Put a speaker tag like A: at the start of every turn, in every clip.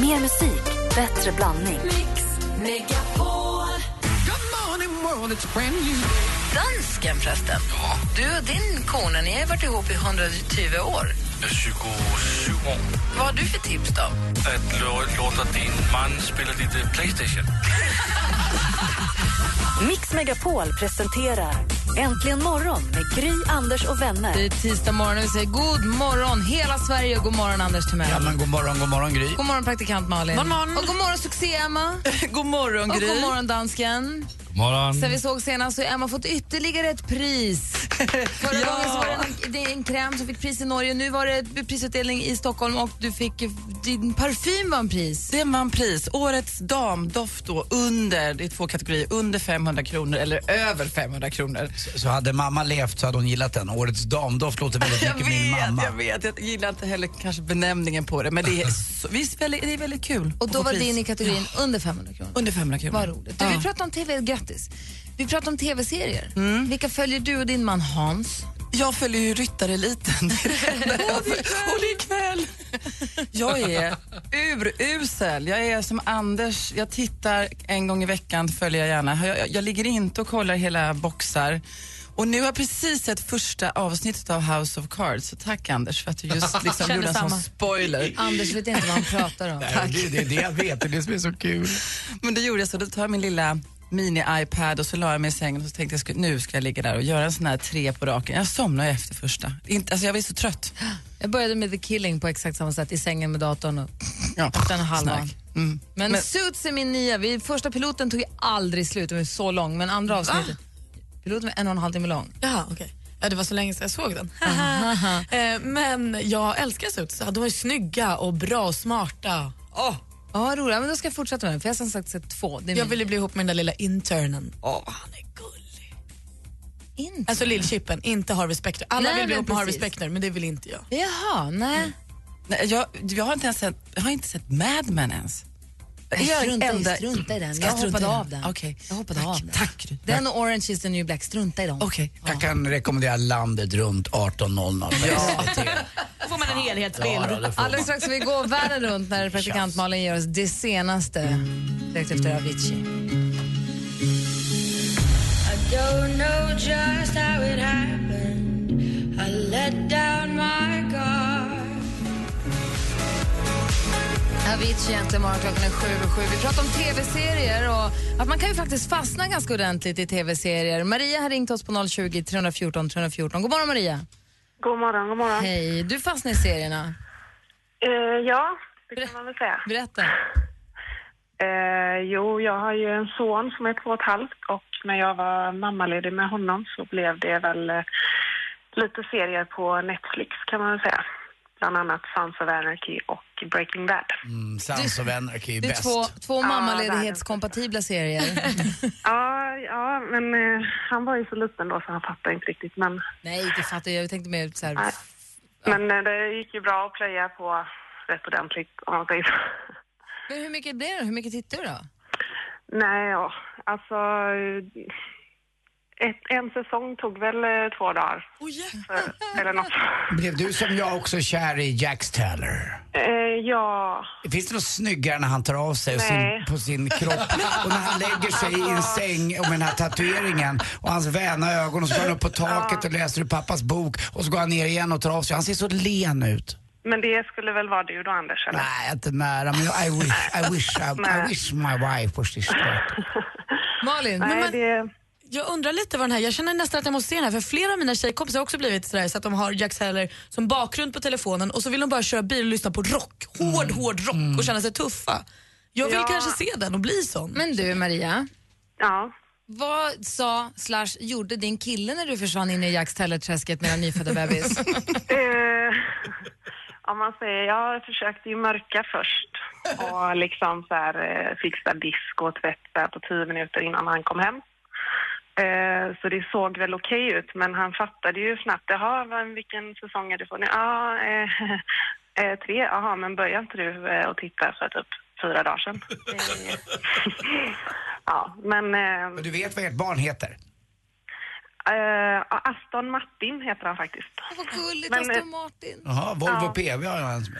A: Mer musik, bättre blandning.
B: Dansken förresten. Du och din kone, ni har ju varit ihop i 120 år.
C: 27 år.
B: Vad har du för tips då?
C: Att lå- låta din man spela lite øh, Playstation.
A: Mix Megapol presenterar Äntligen morgon med Gry, Anders och
D: Det
A: vänner.
D: är tisdag morgon och vi säger god morgon hela Sverige och god morgon Anders Timell.
E: Ja, men god morgon, god morgon Gry.
D: God morgon praktikant Malin.
F: Morgon, morgon.
D: Och god morgon succé-Emma.
F: God morgon,
D: Och
F: Gry.
D: god morgon dansken.
C: Morgon.
D: Sen vi såg senast så har Emma fått ytterligare ett pris. Förra
F: Ja.
D: gången så var det en, det är en kräm som fick pris i Norge. Nu var det ett prisutdelning i Stockholm och du fick din parfym vann pris.
F: Den vann pris. Årets damdoft då under, det är två kategorier, under 500 kronor eller över 500 kronor.
E: Så hade mamma levt så hade hon gillat den. Årets damdoft låter väldigt
F: Jag
E: mycket min mamma.
F: vet, jag vet. Jag gillar inte heller kanske benämningen på det, men det är, så, visst, väldigt- det är väldigt kul.
D: Och
F: att
D: då
F: få
D: var
F: pris.
D: din i kategorin under 500 kronor.
F: Under 500 kronor.
D: Vad roligt. Du,
F: Ja.
D: Vi pratar om tv, grattis. Vi pratar om tv-serier. Vilka följer du och din man Hans?
F: Jag följer ju ryttareliten. Det är det enda jag följer. Och det är kväll. Jag är urusel. Jag är som Anders. Jag tittar en gång i veckan, följer jag gärna. Jag, jag, jag ligger inte och kollar hela boxar. Och nu har jag precis sett första avsnittet av House of Cards. Så tack Anders för att du just liksom
D: Känner
F: gjorde en
D: samma.
F: sån spoiler.
D: Anders vet inte vad han pratar om.
E: Nej, Det, det är det jag vet, det är det som är så kul.
F: Men det gjorde jag så. Då tar jag min lilla mini-iPad och så la jag mig i sängen och så tänkte jag "Ska- nu ska jag ligga där och göra en sån här tre på raken. Jag somnade efter första. Inte, alltså jag var så trött.
D: Jag började med The Killing på exakt samma sätt, i sängen med datorn och
F: Ja.
D: den halvan.
F: Snack. Mm.
D: Men,
F: Men-
D: Suits är min nya. Vi, första piloten tog ju aldrig slut, den var ju så lång. Men andra avsnittet, piloten var en och en halv timme lång.
G: Jaha, okej. Ja, det var så länge sedan jag såg den. Eh, Men jag älskar Suits. Ja, De är snygga och bra och smarta. Åh,
D: Ja, roligt. Ja, Men då ska jag fortsätta med den, för jag har som sagt sett två. Det är
G: jag
D: min-
G: ville bli ihop med den där lilla internen. Åh, han är gullig.
D: inte.
G: Alltså lillchippen, inte Harvey Specter. Alla
D: Nej,
G: vill bli
D: men
G: ihop med Harvey
D: precis.
G: Specter, men det vill inte jag.
D: Jaha, nej.
F: Nej, jag, jag, har inte ens sett, jag har inte sett Mad Men ens. Är jag
D: Strunta, i-
F: enda-
D: strunta i den.
F: Ska
D: Jag
F: strunta
D: hoppade
F: i
D: av den.
F: Okej.
D: Jag hoppade
F: tack,
D: av den.
F: Tack. Gry.
D: Den och Orange is the new black, strunta i dem.
F: Okej.
E: Jag kan rekommendera landet runt 18.00 på SVT.
G: Då får man en helhetsbild.
E: Ja, då, det får man.
D: Alldeles strax ska vi gå världen runt när praktikant Malin ger oss det senaste direkt efter Avicii. Avicii egentligen morgon klockan är sju och sju. Vi pratar om tv-serier och att man kan ju faktiskt fastna ganska ordentligt i tv-serier. Maria har ringt oss på 020 314 314. God morgon Maria.
H: God morgon, god morgon.
D: Hej, du fastnar i serierna.
H: Eh, ja, det kan man väl säga.
D: Berätta.
H: Eh, jo, jag har ju en son som är två och ett halvt och när jag var mammaledig med honom så blev det väl eh, lite serier på Netflix kan man väl säga. Bland annat Sons of Anarchy och Breaking Bad.
E: Mm, Sons of Anarchy är
D: Det är
E: bäst.
D: två, två
H: Ja,
D: mammaledighetskompatibla serier.
H: Ja, ja men eh, han var ju så liten då så han fattade inte riktigt. Men,
D: Nej, det fattar jag. Jag tänkte mer så här...
H: Nej. men eh, det gick ju bra att plöja på rätt ordentligt om man säger så.
D: Men hur mycket blir det? Hur mycket tittar du då?
H: Nej, ja. alltså... eh, Ett, en säsong tog väl eh, två dagar. Eh, Eller något.
E: Blev du som jag också kär i Jax Taylor?
H: Eh, ja,
E: Finns det något snyggare när han tar av sig och sin,
H: Nej.
E: på sin kropp och när han lägger sig i en säng och med den här tatueringen och hans väna ögon och så går han upp på taket och läser ur pappas bok och så går han ner igen och tar av sig. Han ser så len ut.
H: men det skulle väl vara du då, Anders? Eller?
E: Nej, inte nära, men jag- I wish, I wish, I, I
H: Nej.
E: wish my wife was this daughter.
D: Malin?
H: Nej,
G: men-
H: det...
G: Jag undrar lite vad den här, jag känner nästan att jag måste se den här för flera av mina tjejkompisar har också blivit sådär så att de har Jack Heller som bakgrund på telefonen och så vill de bara köra bil och lyssna på rock, hård hård rock och känna sig tuffa. Jag vill
H: Ja.
G: kanske se den och bli sån.
D: Men du, Maria.
H: Ja.
D: Vad sa slash gjorde din kille när du försvann in i Jacks Teller-träsket med en nyfödda bebis?
H: Eh, om man säger, jag försökte ju mörka först och liksom så här, eh, fixa disk och tvätta på tio minuter innan han kom hem. Eh, så det såg väl okej ut, men han fattade ju snabbt. Jaha, vad- vilken säsong är du på nu? Ja, eh, eh, tre. Jaha, men började inte du eh, att titta för typ fyra dagar sedan? Eh, ja, men... eh,
E: Men Du vet vad ert barn heter?
H: Eh, Aston Martin heter han faktiskt.
D: Åh, vad gulligt,
H: Men,
D: Aston
H: eh,
D: Martin.
E: Jaha, Volvo PV har jag en som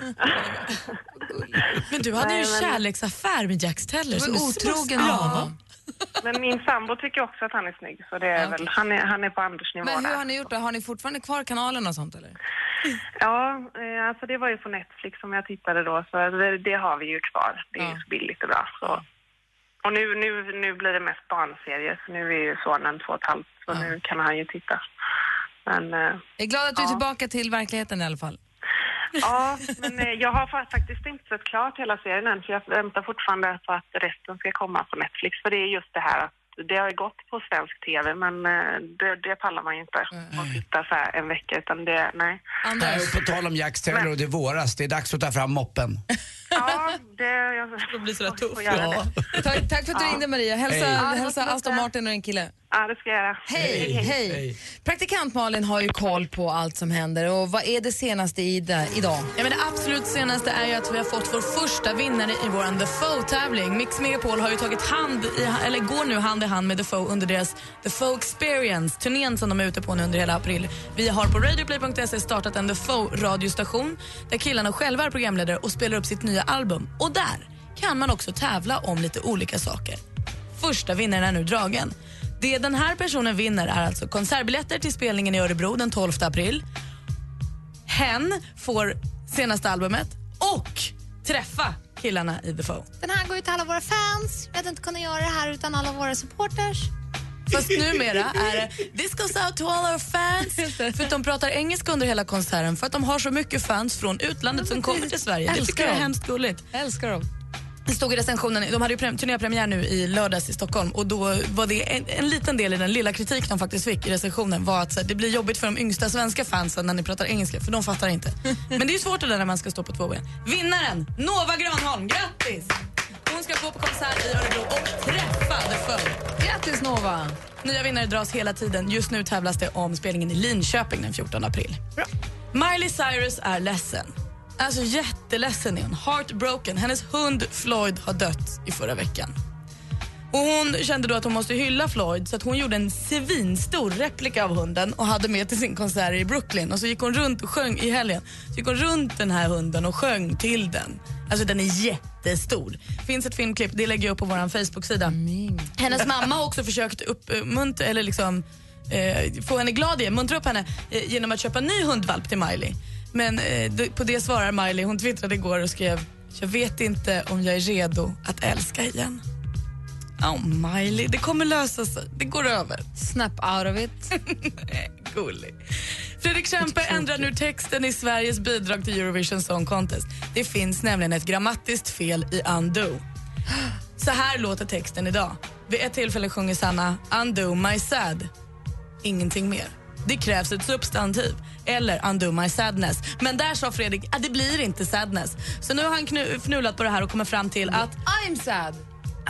G: Men du hade ju en kärleksaffär med Jack Teller.
D: Du
G: så
D: var
G: du
D: otrogen
G: smaskade
D: med
G: av
D: honom.
H: Men min sambo tycker också att han är snygg, så det är
D: Ja,
H: väl, han är, han är på Anders nivå
D: Men hur har
H: där.
D: ni gjort då? Har ni fortfarande kvar kanalen och sånt eller?
H: Ja, eh, alltså det var ju på Netflix som jag tittade då, så det, det har vi ju kvar. Det är ju
D: Ja.
H: så billigt och bra. Så. Och nu, nu, nu blir det mest barnserier, så nu är ju sonen två och ett halvt, så nu kan han ju titta. Men, eh,
D: Jag är glad att du är tillbaka till verkligheten i alla fall.
H: ja, men eh, jag har fa- faktiskt inte sett klart hela serien än, för jag väntar fortfarande på att resten ska komma på Netflix. För det är just det här att det har ju gått på svensk TV, men eh, det, det pallar man ju inte att titta så här en vecka, utan det, nej.
E: Nej,
D: Anders,
E: och på tal om Jack Taylor och det är våras, det är dags att ta fram moppen.
H: Ja, det... Jag,
G: Det blir sådär tufft.
H: får göra det.
D: tack, tack för att du ringde Maria. Hälsa,
E: Hej.
D: hälsa Aston Martin och en kille.
H: Ja, det ska jag göra.
D: Hej, hej. Praktikant Malin har ju koll på allt som händer och vad är det senaste i det, idag?
G: Ja, men det absolut senaste är ju att vi har fått vår första vinnare i vår The Foe-tävling. Mix Megapol har ju tagit hand i, eller går nu hand i hand med The Foe under deras The Foe Experience, turnén som de är ute på nu under hela april. Vi har på radioplay.se startat en The Foe-radiostation där killarna själva är programledare och spelar upp sitt nya album. Och där kan man också tävla om lite olika saker. Första vinnaren är nu dragen. Det den här personen vinner är alltså konsertbiljetter till spelningen i Örebro den 12 april. Hen får senaste albumet och träffa killarna i The Foe.
I: Den här går ju till alla våra fans. Jag hade inte kunnat göra det här utan alla våra supporters.
G: Fast numera är det “This goes out to all our fans” för att de pratar engelska under hela konserten för att de har så mycket fans från utlandet som kommer till Sverige. Det tycker jag är
D: dem.
G: hemskt gulligt.
D: Älskar dem.
G: Det stod i recensionen, de hade ju prem- turnépremiär nu i lördags i Stockholm och då var det en, en liten del i den lilla kritik de faktiskt fick i recensionen var att så här, det blir jobbigt för de yngsta svenska fansen när ni pratar engelska för de fattar inte. Men det är ju svårt det där när man ska stå på två ben. Vinnaren, Nova Granholm, grattis! Hon ska gå på konsert i Örebro och träffa The Foe.
D: Grattis Nova!
G: Nya vinnare dras hela tiden. Just nu tävlas det om spelningen i Linköping den 14 april. Miley Cyrus är ledsen. Alltså jätteledsen är hon. Heartbroken. Hennes hund Floyd har dött i förra veckan. Och Hon kände då att hon måste hylla Floyd så att hon gjorde en svinstor replika av hunden och hade med till sin konsert i Brooklyn. Och så gick hon runt och sjöng i helgen. Så gick hon runt den här hunden och sjöng till den. Alltså den är jättestor. finns ett filmklipp, det lägger jag upp på vår Facebook-sida. Hennes mamma har också försökt uppmuntra, eller liksom eh, få henne glad igen, muntra upp henne eh, genom att köpa en ny hundvalp till Miley. Men eh, d- på det svarar Miley, hon twittrade igår och skrev “Jag vet inte om jag är redo att älska igen”. Oh Miley, det kommer lösa sig. Det går över.
D: Snap out of it.
G: Gullig. Fredrik Kempe ändrar nu texten i Sveriges bidrag till Eurovision Song Contest. Det finns nämligen ett grammatiskt fel i undo. Så här låter texten idag. Vid ett tillfälle sjunger Sanna undo my sad. Ingenting mer. Det krävs ett substantiv eller undo my sadness. Men där sa Fredrik att det blir inte sadness. Så nu har han knu- fnulat på det här och kommer fram till att
D: I'm sad.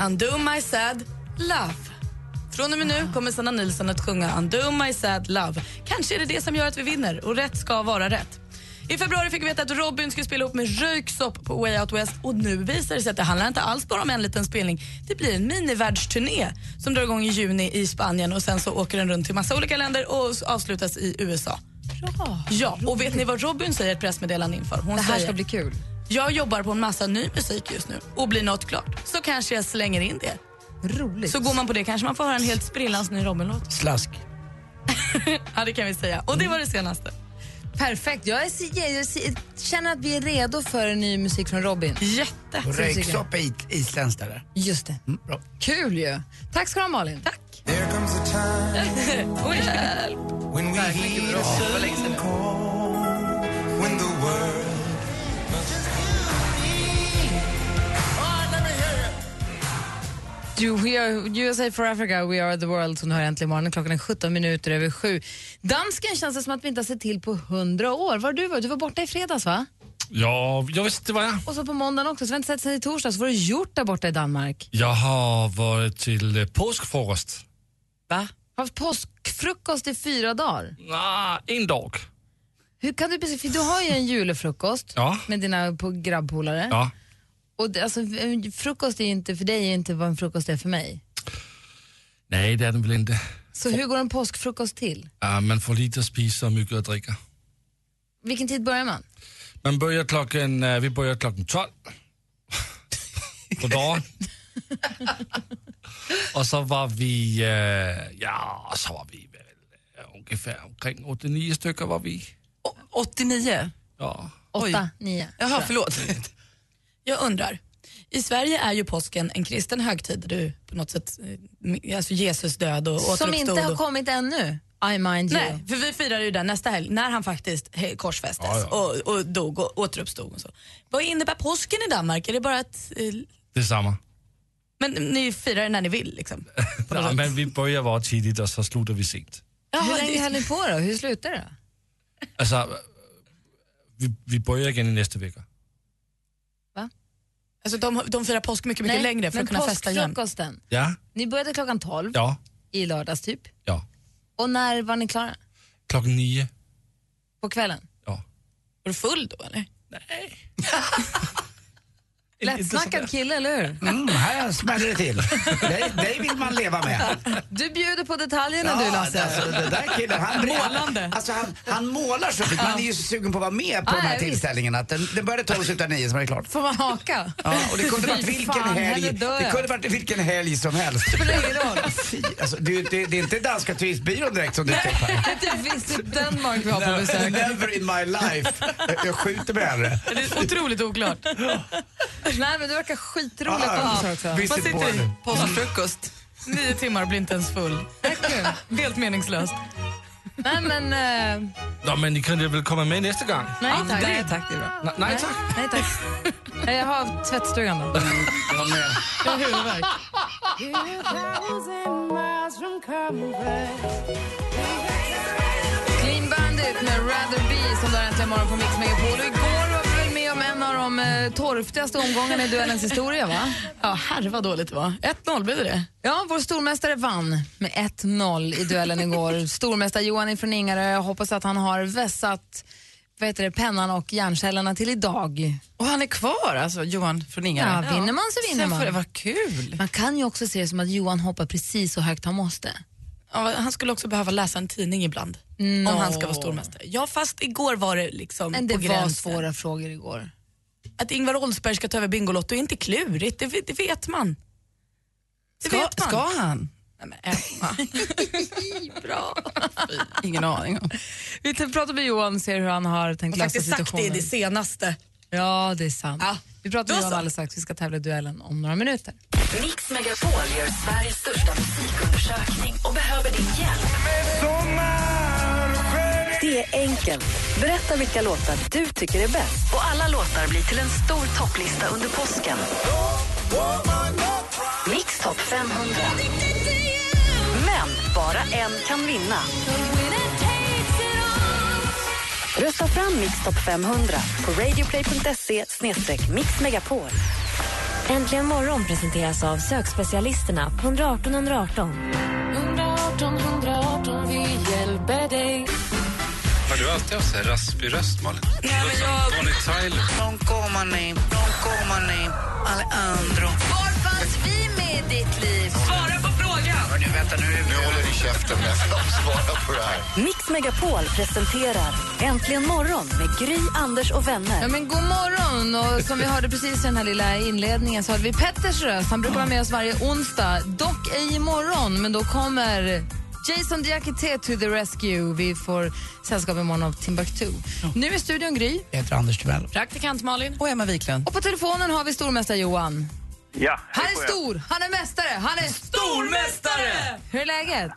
G: Undo my sad love. Från och med nu kommer Sanna Nilsson att sjunga Undo my sad love. Kanske är det det som gör att vi vinner och rätt ska vara rätt. I februari fick vi veta att Robin skulle spela ihop med Röyksopp på Way Out West och nu visar det sig att det handlar inte alls bara om en liten spelning. Det blir en minivärldsturné som drar igång i juni i Spanien och sen så åker den runt till massa olika länder och s- avslutas i USA.
D: Bra.
G: Ja, och vet ni vad Robin säger i ett pressmeddelande inför? Hon
D: Det här
G: säger,
D: ska bli kul.
G: jag jobbar på en massa ny musik just nu och blir något klart så kanske jag slänger in det.
D: Roligt.
G: Så går man på det kanske man får höra en helt sprillans ny Robin-låt.
E: Slask.
G: Ja, det kan vi säga. Och det var det senaste.
D: Perfekt. Jag, är, så- jag, är, så- känner att vi är redo för ny musik från Robin.
G: Jätte.
E: Och röksopp är it- isländskt eller?
D: Just det.
E: Mm, bra.
D: Kul ju. Tack ska du ha Malin.
G: Tack. Oj, hjälp. Verkligen bra. Det var länge sedan nu.
D: You, we are, USA for Africa, We are the world som du hör äntligen morgonen. Klockan är 17 minuter över sju. Dansken känns det som att vi inte har sett till på 100 år. Var du var? Du var borta i fredags va?
C: Ja, jag visst det var jag.
D: Och så på måndagen också, så vi har inte sett sen i torsdags. Vad har du gjort där borta i Danmark?
C: Jag har varit till eh, påskfrokost.
G: Va?
D: Haft påskfrukost i fyra dagar.
C: Ah, en dag.
D: Hur kan du beskriva, för du har ju en julefrukost
C: Ja.
D: med dina på- grabbpolare.
C: Ja.
D: Och det, alltså, en frukost är ju inte för dig är inte vad en frukost är för mig.
C: Nej, det är den väl inte.
D: Så hur går en påskfrukost till?
C: Ja, man får lite att spisa och mycket att dricka.
D: Vilken tid börjar man?
C: Man börjar klockan, eh, vi börjar klockan 12 på dagen. och så var vi, eh, ja, så var vi väl eh, ungefär omkring 89 stycken var vi.
F: Å- 89?
C: Ja.
D: Åtta, nio?
F: Jaha, förlåt.
G: Jag undrar, i Sverige är ju påsken en kristen högtid där du på något sätt, eh, alltså Jesus död och
D: Som
G: återuppstod
D: inte har
G: och-
D: kommit ännu? I mind you.
G: Nej, för vi firar ju den nästa helg när han faktiskt he- korsfästes Och, och dog och återuppstod. Och så. Vad innebär påsken i Danmark? Är det bara att eh,
C: Detsamma.
G: men ni firar den när ni vill liksom? På något
C: Ja,
G: sätt.
C: men vi börjar vara tidigt och så slutar vi sent.
G: Jaha,
D: Hur länge
G: det-
D: höll ni på då? Hur slutar det?
C: Alltså, eh, vi, vi börjar igen i nästa vecka.
G: Alltså, de, de firar påsk mycket, mycket längre för
D: men
G: att kunna festa igen.
D: påskfrukosten.
C: Ja,
D: Ni började klockan 12
C: ja,
D: i lördags typ.
C: ja.
D: Och när var ni klara?
C: Klockan nio,
D: På kvällen?
C: ja.
G: Var du full då eller?
D: Lättsnackad kille, eller hur?
E: Mm, här smäller det till. Dig, dig vill man leva med.
D: Du bjuder på detaljerna du
E: Ja,
D: Lasse.
E: alltså, den där killen, han, Målande. Alltså, han, han målar så fint. Man är ju så sugen på att vara med på
D: Ja,
E: den här
D: ja, visst.
E: tillställningen. Att den, den började 12 slutar 9 som är det klart.
D: Får man haka?
E: Ja, och det kunde
D: Fy
E: varit vilken
D: fan,
E: helg,
D: hellre dör
E: det
D: jag.
E: kunde varit vilken helg som helst. Fy, alltså, det, är ju inte- det är inte danska turistbyrån direkt som dyker upp här.
D: Det är inte Visit Denmark vi har på besök.
E: Never in my life. Jag, jag skjuter mig hellre.
G: Det är otroligt oklart.
D: Nej men det verkar skitroligt att
E: Ah,
D: ha besök också.
E: visit
G: Man sitter
E: Borneo.
G: i påskfrukost. Nio timmar och blir inte ens full. Helt meningslöst.
D: Nej men, eh,
C: Nå, men ni kan väl komma med nästa gång?
D: nej tack.
F: Nej tack, det är bra.
C: N- nej tack.
D: Nej tack. Nej, Jag har tvättstugan då.
E: Jag med.
D: Clean Bandit med Rather Be som du har äntligen morgon på Mix Megapol. Och igår var vi väl med om en av de eh, torftigaste omgångarna i duellens historia va?
G: Ja, herre vad dåligt det var. 1-0 blev det det.
D: Ja, vår stormästare vann med 1-0 i duellen igår. Stormästare Johan från Ingarö, jag hoppas att han har vässat vad heter det, pennan och hjärncellerna till idag.
F: Och han är kvar alltså, Johan från
D: Ja,
F: Ingarö?
D: vinner man så vinner
F: Sen får det
D: man.
F: vara kul.
D: Man kan ju också se det som att Johan hoppar precis så högt han måste.
G: Ja, han skulle också behöva läsa en tidning ibland. Om han ska vara stormästare. Ja, fast igår var det liksom
D: Men det
G: på gränsen.
D: var svåra frågor igår.
G: Att Ingvar Oldsberg ska ta över Bingolotto är inte klurigt, det, vet- det vet man. Det
F: Ska,
G: vet man.
F: ska han?
G: Nej, men Emma. Bra.
F: Ingen aning om.
D: Vi t- pratar med Johan och ser hur han har tänkt
G: Jag har
D: lösa
G: faktiskt sagt det i
D: situationen.
G: det senaste.
D: Ja, det är sant.
G: Ja.
D: Vi pratar med
G: Då
D: Johan
G: så.
D: alldeles strax. Vi ska tävla i duellen om några minuter.
A: Mix Megapol gör Sveriges största musikundersökning och behöver din hjälp. Det är enkelt. Berätta vilka låtar du tycker är bäst. Och alla låtar blir till en stor topplista under påsken. Mix topp 500. Men bara en kan vinna. Rösta fram Mix topp 500 på radioplay.se mixmegapol.
J: Äntligen morgon presenteras av sökspecialisterna på 118 118.
K: Har du alltid haft så här raspig röst, Malin? Nej, men jag... Bonnie Tyler.
B: Var fanns vi med i ditt liv?
K: Nu håller du käften med de svarar på det här.
A: Mix Megapol presenterar Äntligen morgon med Gry, Anders och vänner.
D: Ja, men god morgon! Och som vi hörde precis i den här lilla inledningen så hade vi Petters röst. Han brukar vara med oss varje onsdag, dock ej imorgon. Men då kommer Jason Diakité to the rescue. Vi får sällskap imorgon av Timbuktu. Nu är studion Gry
E: Jag heter Anders Timell.
G: Praktikant Malin.
F: Och Emma Wiklund.
D: och på telefonen har vi stormästare Johan.
L: Ja,
D: Han
L: det får
D: är
L: jag.
D: stor, han är mästare, han är stormästare! Hur är läget?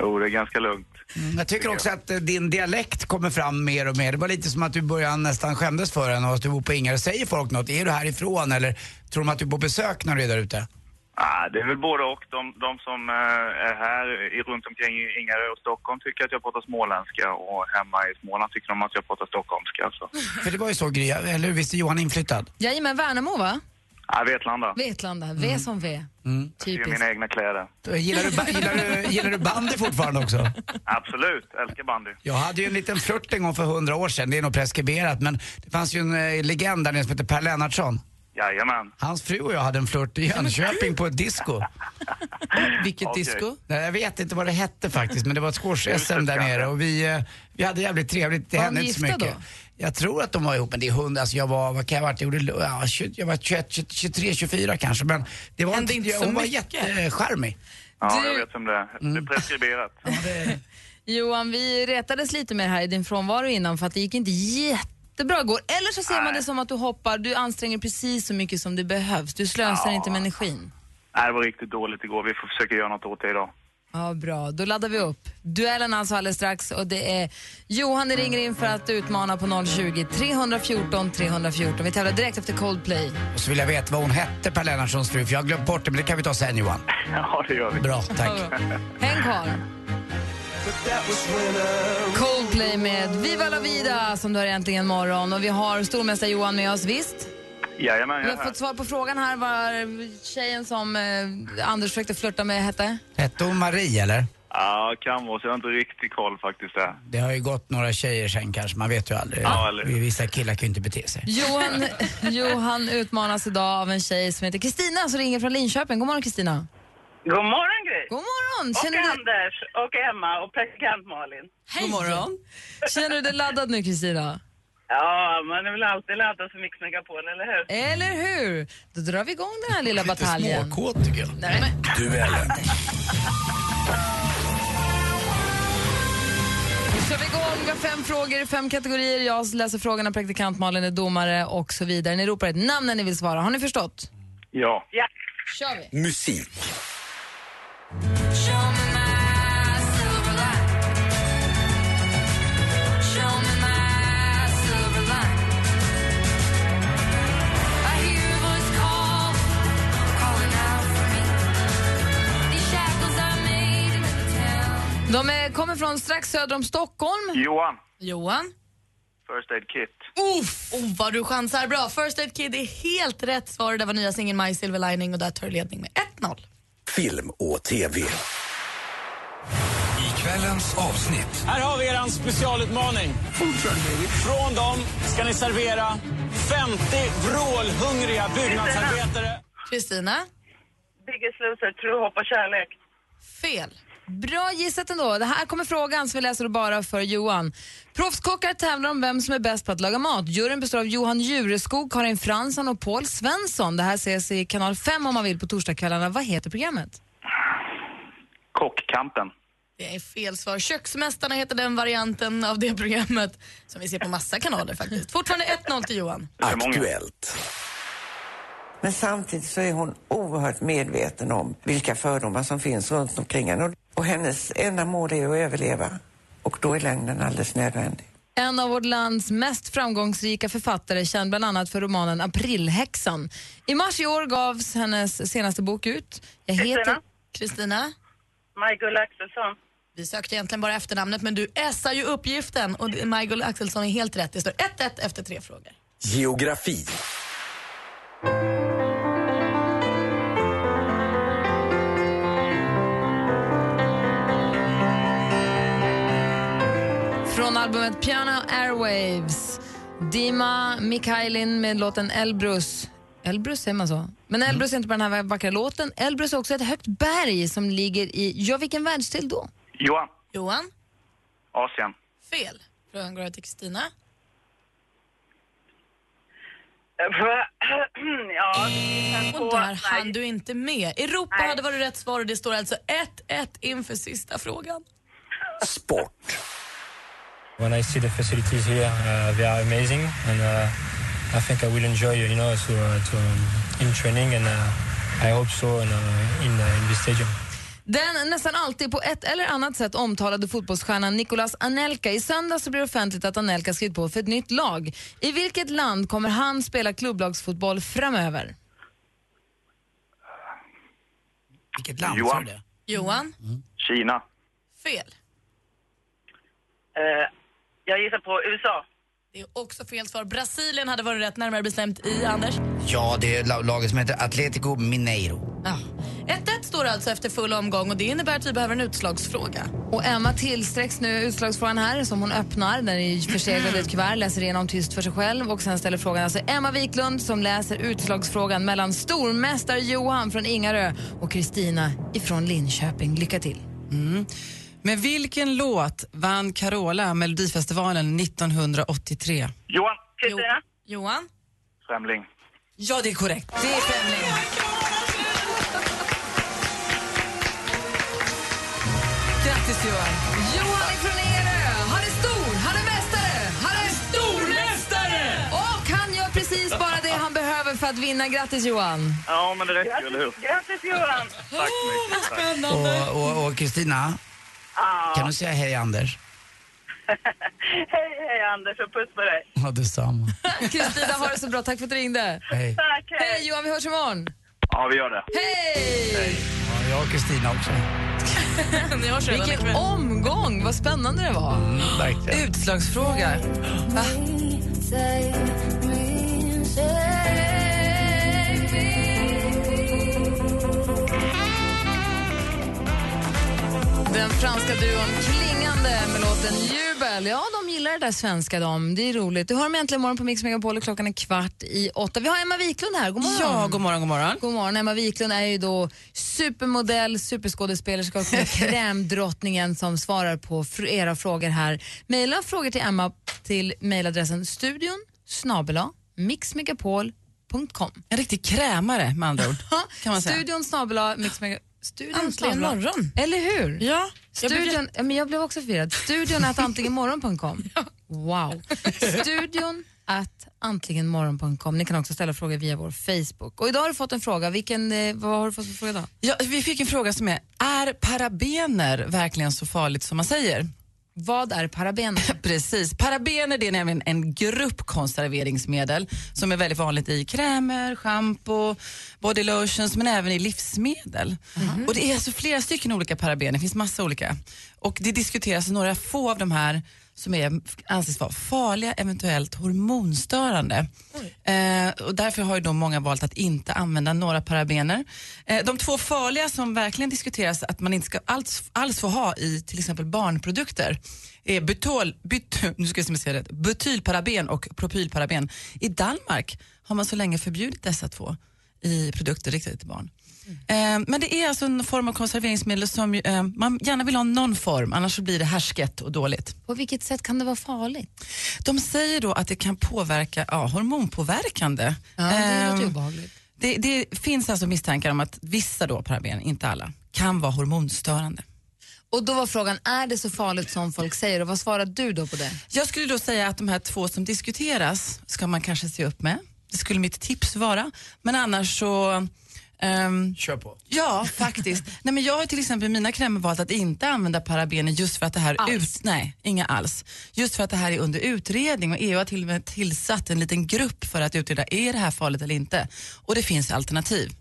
L: Jo, det är ganska lugnt.
E: Jag tycker också att eh, din dialekt kommer fram mer och mer. Det var lite som att du i början nästan skämdes för den och att du bor på Ingarö. Säger folk något? Är du härifrån eller tror de att du är på besök när du är där ute?
L: Ah, det är väl både och. De, de som eh, är här i, runt omkring i Ingarö och Stockholm tycker att jag pratar småländska och hemma i Småland tycker de att jag pratar stockholmska. alltså. Så.
E: För det var ju så Gry, eller hur? Visst är Johan inflyttad?
D: Jajamän, Värnamo va?
L: Ah, Vetlanda.
D: Vetlanda, V som V.
L: Det är
D: Typiskt.
L: mina egna kläder.
E: Eh, Gillar du, ba- gillar, du, gillar du bandy fortfarande också?
L: Absolut, älskar bandy.
E: Jag hade ju en liten flört en gång för hundra år sedan, det är nog preskriberat, men det fanns ju en eh, legend där nere som hette Per Lennartsson.
L: Jajamän.
E: Hans fru och jag hade en flört i Jönköping på ett disco.
F: Vilket
E: Okej.
F: disco?
E: Nej, jag vet inte vad det hette faktiskt, men det var ett squash-SM där nere och vi, eh, vi hade jävligt trevligt. Det
F: Var
E: hände
F: de
E: inte så
F: gifta
E: mycket. Jag tror att de var ihop, men det är hundra. Alltså jag var, vad kan jag ha varit? Jag, gjorde, ja, 20, jag var 21, 20, 23, 24 kanske. Men det var
G: Hände inte så
E: hon var
G: mycket.
E: jättecharmig.
L: Ja, jag vet om det är. Det är preskriberat.
D: Johan, vi retades lite med det här i din frånvaro innan för att det gick inte jättebra igår. Eller så ser man det som att du hoppar, du anstränger precis så mycket som det behövs. Du slösar inte med energin.
L: Nej, det var riktigt dåligt igår. Vi får försöka göra något åt det idag.
D: Ja, bra. Då laddar vi upp. Duellen alltså alldeles strax och det är Johan det ringer in för att utmana på 020 314 314. Vi tävlar direkt efter Coldplay.
E: Och så vill jag veta vad hon hette, Per Lennartssons fru, för jag har glömt bort det, men det kan vi ta sen Johan.
L: Ja, det gör vi.
E: Bra, tack.
D: Häng kvar. Coldplay med Viva la vida som du har äntligen morgon och vi har stormästare Johan med oss, visst?
L: Jajamän,
D: Vi
L: jag är
D: har
L: här.
D: fått svar på frågan här vad tjejen som eh, Anders försökte flirta med hette.
E: Hette hon Marie eller?
L: Ja, kan vara. Så jag har inte riktigt koll faktiskt där.
E: Det har ju gått några tjejer sen kanske, man vet ju aldrig.
L: Ja, eller
E: Vissa killar kan ju inte bete sig.
D: Johan, Johan utmanas idag av en tjej som heter Kristina som ringer från Linköping. God morgon Kristina.
M: God morgon, Gry.
D: God morgon.
M: Och
D: Känner du-
M: Anders och Emma och praktikant Malin.
D: God morgon. Känner du dig laddad nu Kristina?
M: Ja, man är väl alltid laddad för Mix Megapol, eller hur?
D: Eller hur? Då drar vi igång den här lilla bataljen.
E: småkåt tycker jag.
D: Nej, men,
K: Duellen.
D: Nu kör vi igång. Vi har fem frågor i fem kategorier. Jag läser frågorna, praktikant Malin är domare och så vidare. Ni ropar ett namn när ni vill svara. Har ni förstått?
L: Ja.
M: Ja.
D: kör vi.
K: Musik.
D: De är, kommer från strax söder om Stockholm.
L: Johan,
G: Johan?
L: First Aid Kit.
G: Uff, oh, vad du chansar bra. First Aid Kid är helt rätt svar. Det var nya singeln My Silver Lining och där tar du ledning med 1-0.
K: Film och TV. I kvällens avsnitt.
N: Här har vi er specialutmaning. Från dem ska ni servera 50 vrålhungriga byggnadsarbetare.
G: Kristina?
M: Biggest loser, tro, hopp och kärlek.
G: Fel.
D: Bra gissat ändå. Det här kommer frågan som vi läser bara för Johan. Proffskockar tävlar om vem som är bäst på att laga mat. Juryn består av Johan Jureskog, Karin Fransson och Paul Svensson. Det här ses i kanal 5 om man vill på torsdagskvällarna. Vad heter programmet?
L: Kockkampen.
G: Det är fel svar. Köksmästarna heter den varianten av det programmet som vi ser på massa kanaler faktiskt. Fortfarande 1-0 till Johan.
O: Aktuellt. Men samtidigt så är hon oerhört medveten om vilka fördomar som finns runt omkring henne. Och hennes enda mål är att överleva. Och då är lögnen alldeles nödvändig.
D: En av vårt lands mest framgångsrika författare, känd bland annat för romanen Aprilhäxan. I mars i år gavs hennes senaste bok ut. Jag heter...
G: Kristina?
M: Maj-Gull Axelsson.
G: Vi sökte egentligen bara efternamnet men du essar ju uppgiften och det- Maj-Gull Axelsson är helt rätt. Det står 1-1 efter tre frågor.
K: Geografi.
D: Från albumet Piano Airwaves. Dima Mikhailin med låten Elbrus. Elbrus säger man så? Men Elbrus är inte bara den här vackra låten. Elbrus är också ett högt berg som ligger i, ja vilken världsdel då?
L: Johan,
G: Johan?
L: Asien.
G: Fel. Frågan går över till Kristina.
M: Ja,
G: och där hann du inte med. Europa hade varit rätt svar och det står alltså 1-1 inför sista frågan.
K: Sport.
P: When I see the facilities here, uh, they are amazing, and uh, I think I will enjoy, you know, to, uh, to um, in training, and uh, I hope so, and uh, in uh, in the stadium.
D: Den nästan alltid på ett eller annat sätt omtalade fotbollsstjärnan Nicolas Anelka. I söndags så blir det offentligt att Anelka skrivit på för ett nytt lag. I vilket land kommer han spela klubblagsfotboll framöver?
E: Vilket land sa
L: Johan.
E: du det?
G: Johan?
L: Kina.
G: Fel.
M: Eh, jag gissar på USA.
G: Det är också fel svar. Brasilien hade varit rätt, närmare bestämt i Anders.
E: Ja, det är la- laget som heter Atletico Mineiro.
G: Ja. 1-1 står det alltså efter full omgång och det innebär att vi behöver en utslagsfråga.
D: Och Emma tillsträcks nu utslagsfrågan här som hon öppnar. Den är förseglad i ett kuvert, läser igenom tyst för sig själv och sen ställer frågan alltså Emma Wiklund som läser utslagsfrågan mellan stormästare Johan från Ingarö och Kristina ifrån Linköping. Lycka till!
F: Mm. Med vilken låt vann Carola Melodifestivalen 1983?
L: Johan.
G: Kristina. Johan.
L: Främling.
F: Ja, det är korrekt. Det är Främling. Grattis, Johan.
D: Johan ifrån Ingarö, han är stor, han är mästare, han är stormästare! Och han gör precis bara det han behöver för att vinna. Grattis Johan!
L: Ja, men det räcker ju, eller hur?
M: Grattis Johan!
L: Tack så mycket. Tack.
E: Och- Och och Kristina, kan du säga hej Anders?
M: Hej, hej Anders och puss på dig.
E: Ja, detsamma.
D: Kristina, ha det så bra. Tack för att du ringde.
E: Hej.
M: Tack,
D: Hej Johan, vi hörs imorgon.
L: Ja, vi gör det.
D: Hej!
E: Ja, jag och Kristina också. Mm,
G: Ni hörs redan
D: Vilken
G: ikväll.
D: omgång! Vad spännande det var.
E: Verkligen.
F: Utslagsfråga. Va?
D: Den franska duon Klingande med låten Jubel. Ja, de gillar det där svenska de. Det är roligt. Du hör mig äntligen imorgon på Mix Megapol och klockan är kvart i åtta. Vi har Emma Wiklund här. God morgon.
F: Ja, god morgon, god morgon.
D: God morgon. Emma Wiklund är ju då supermodell, superskådespelerska och krämdrottningen som svarar på fr- era frågor här. Maila frågor till Emma till mailadressen studion snabela mixmegapol.com.
F: En riktig krämare, med andra ord. Kan man säga.
D: Studion snabela mixmegapol. Studion
G: Äntligen
D: snabel-a-
G: morgon.
D: Eller hur?
G: Ja, jag blev
D: Studion, ja, men jag blev också förvirrad. Studion att antligenmorgon.com. Wow. Studion att antligenmorgon.com. Ni kan också ställa frågor via vår Facebook. Och idag har du fått en fråga. Vilken, eh, vad har du fått för fråga idag?
F: Ja, vi fick en fråga som är, är parabener verkligen så farligt som man säger?
D: Vad är parabener?
F: Precis, parabener det är nämligen en grupp konserveringsmedel som är väldigt vanligt i krämer, schampo, body lotions men även i livsmedel.
D: Mhm.
F: Och det är alltså flera stycken olika parabener, det finns massa olika. Och det diskuteras några få av de här som är, anses vara farliga, eventuellt hormonstörande. Eh, och därför har ju då många valt att inte använda några parabener. Eh, de två farliga som verkligen diskuteras att man inte ska alls, alls få ha i till exempel barnprodukter är butol, but, nu ska jag se om jag säger rätt, butylparaben och propylparaben. I Danmark har man så länge förbjudit dessa två i produkter riktade till barn. Eh, Men det är alltså en form av konserveringsmedel som ju, eh, man gärna vill ha någon form, annars så blir det härsket och dåligt.
D: På vilket sätt kan det vara farligt?
F: De säger då att det kan påverka, ja, hormonpåverkande.
D: Ja, det låter ju
F: Ehm,
D: obehagligt.
F: det, det finns alltså misstankar om att vissa då, paraben, inte alla, kan vara hormonstörande.
D: Och då var frågan, är det så farligt som folk säger? Och vad svarar du då på det?
F: Jag skulle då säga att de här två som diskuteras ska man kanske se upp med. Det skulle mitt tips vara. Men annars så... ehm,
E: Kör på.
F: Ja, faktiskt. nej, men jag har till exempel i mina krämer valt att inte använda parabener just för att det här... Ut, nej, inga alls. Just för att det här är under utredning och EU har till och med tillsatt en liten grupp för att utreda, är det här farligt eller inte? Och det finns alternativ.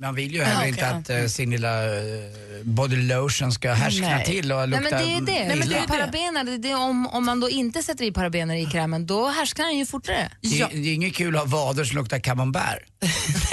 E: Man vill ju
D: Ah,
E: heller
F: okej,
E: inte
F: ja.
E: att eh, sin lilla eh, body lotion ska härskna
F: Nej.
E: till och
D: Nej
E: lukta
D: men det är det. Nej, men det
E: illa.
D: är parabener, det är det om, om man då inte sätter i parabener i krämen, då härsknar den ju fortare.
E: Det, är- det är inget kul att ha vader som luktar camembert.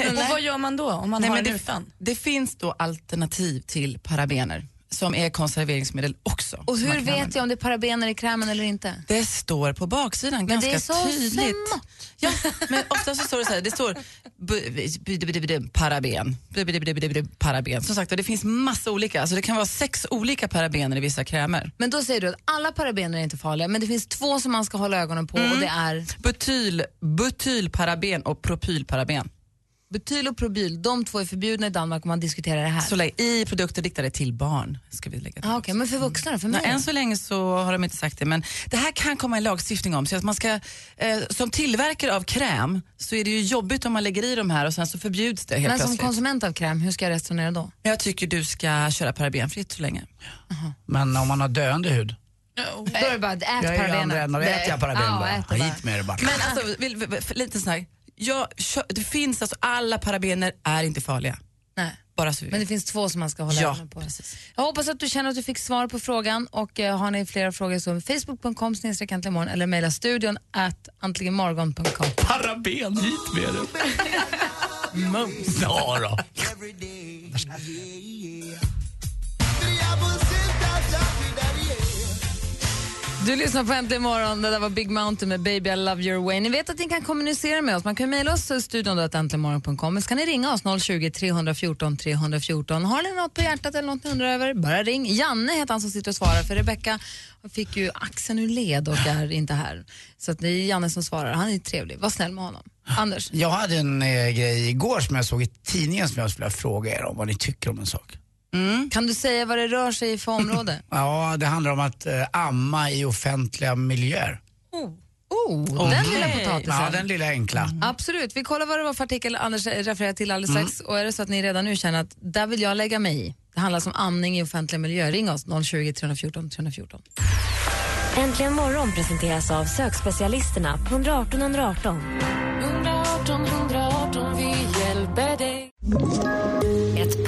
G: Och vad gör man då om man
F: Nej,
G: har
F: men
G: den
F: det-
G: utan?
F: Det finns då alternativ till parabener som är konserveringsmedel också.
D: Och
F: som man
D: hur
F: kan
D: vet
F: använda.
D: jag om det är parabener i krämen eller inte?
F: Det står på baksidan
D: Men det
F: ganska
D: är så
F: tydligt.
D: smått.
F: Ja, men ofta så står det så här, det står bu- bu- bu- bu- bu- paraben, Bu- bu- bu- bu- bu- paraben. Som sagt, och det finns massa olika, så det kan vara sex olika parabener i vissa krämer.
D: Men då säger du att alla parabener är inte farliga, men det finns två som man ska hålla ögonen på
E: Mm.
D: och det är
F: Butyl, butylparaben och propylparaben.
D: butyl och probyl. De två är förbjudna i Danmark om man diskuterar det här.
F: Så lä- I produkter riktade till barn ska vi lägga till.
D: Ah, Okej, men för vuxna då? För mig?
F: Nej, än så länge så har de inte sagt det, men det här kan komma en lagstiftning om. Så att man ska, eh, som tillverkare av kräm så är det ju jobbigt om man lägger i de här och sen så förbjuds det helt
D: men som
F: plötsligt.
D: konsument av kräm, hur ska jag resonera då?
E: Oh.
F: Men Jag tycker du ska köra parabenfritt så länge.
E: Men om man har döende hud.
D: Då är det bara att ät
E: Jag är ju
D: parabenen.
E: andra änden och
D: Nej.
E: äter jag paraben
D: Ja,
E: bara.
D: ät det bara.
E: Hit med det bara.
F: Men alltså, vill, vill, vill, lite sån här. Jag, kö- det finns alltså, alla parabener är inte farliga.
D: Nej.
F: Bara så vi
D: Men det
F: vet.
D: finns två som man ska hålla
F: Ja,
D: ögonen på. Jag hoppas att du känner att du fick svar på frågan och eh, har ni flera frågor så facebook.com snedstreck äntligen morgon eller mejla studion at antligenmorgon.com.
C: Paraben, hit med det. Mums. Ja då.
F: Du lyssnar på Äntligen morgon. Det där var Big Mountain med Baby I Love Your Way. Ni vet att ni kan kommunicera med oss. Man kan mejla oss eh, studion då, att äntligenmorgon.com. Men så kan ni ringa oss 020-314 314. Har ni något på hjärtat eller något ni undrar över, bara ring. Janne heter han som sitter och svarar för Rebecka fick ju axeln ur led och är inte här. Så att det är Janne som svarar. Han är trevlig. Var snäll med honom. Anders?
E: Jag hade en eh, grej igår som jag såg i tidningen som jag skulle vilja fråga er om vad ni tycker om en sak.
F: Kan du säga vad det rör sig i för område?
E: Ja, det handlar om att eh, amma i offentliga miljöer.
F: oh. Oh, den lilla potatisen.
E: Ja, den lilla enkla.
F: Absolut. Vi kollar vad det var för artikel Anders refererade till alldeles strax. Och är det så att ni redan nu känner att där vill jag lägga mig i. Det handlar alltså om amning i offentliga miljöer. Ring oss 020 314 314.
A: Äntligen morgon presenteras av sökspecialisterna på 118 118.
Q: 118 118, vi hjälper dig.
A: Ett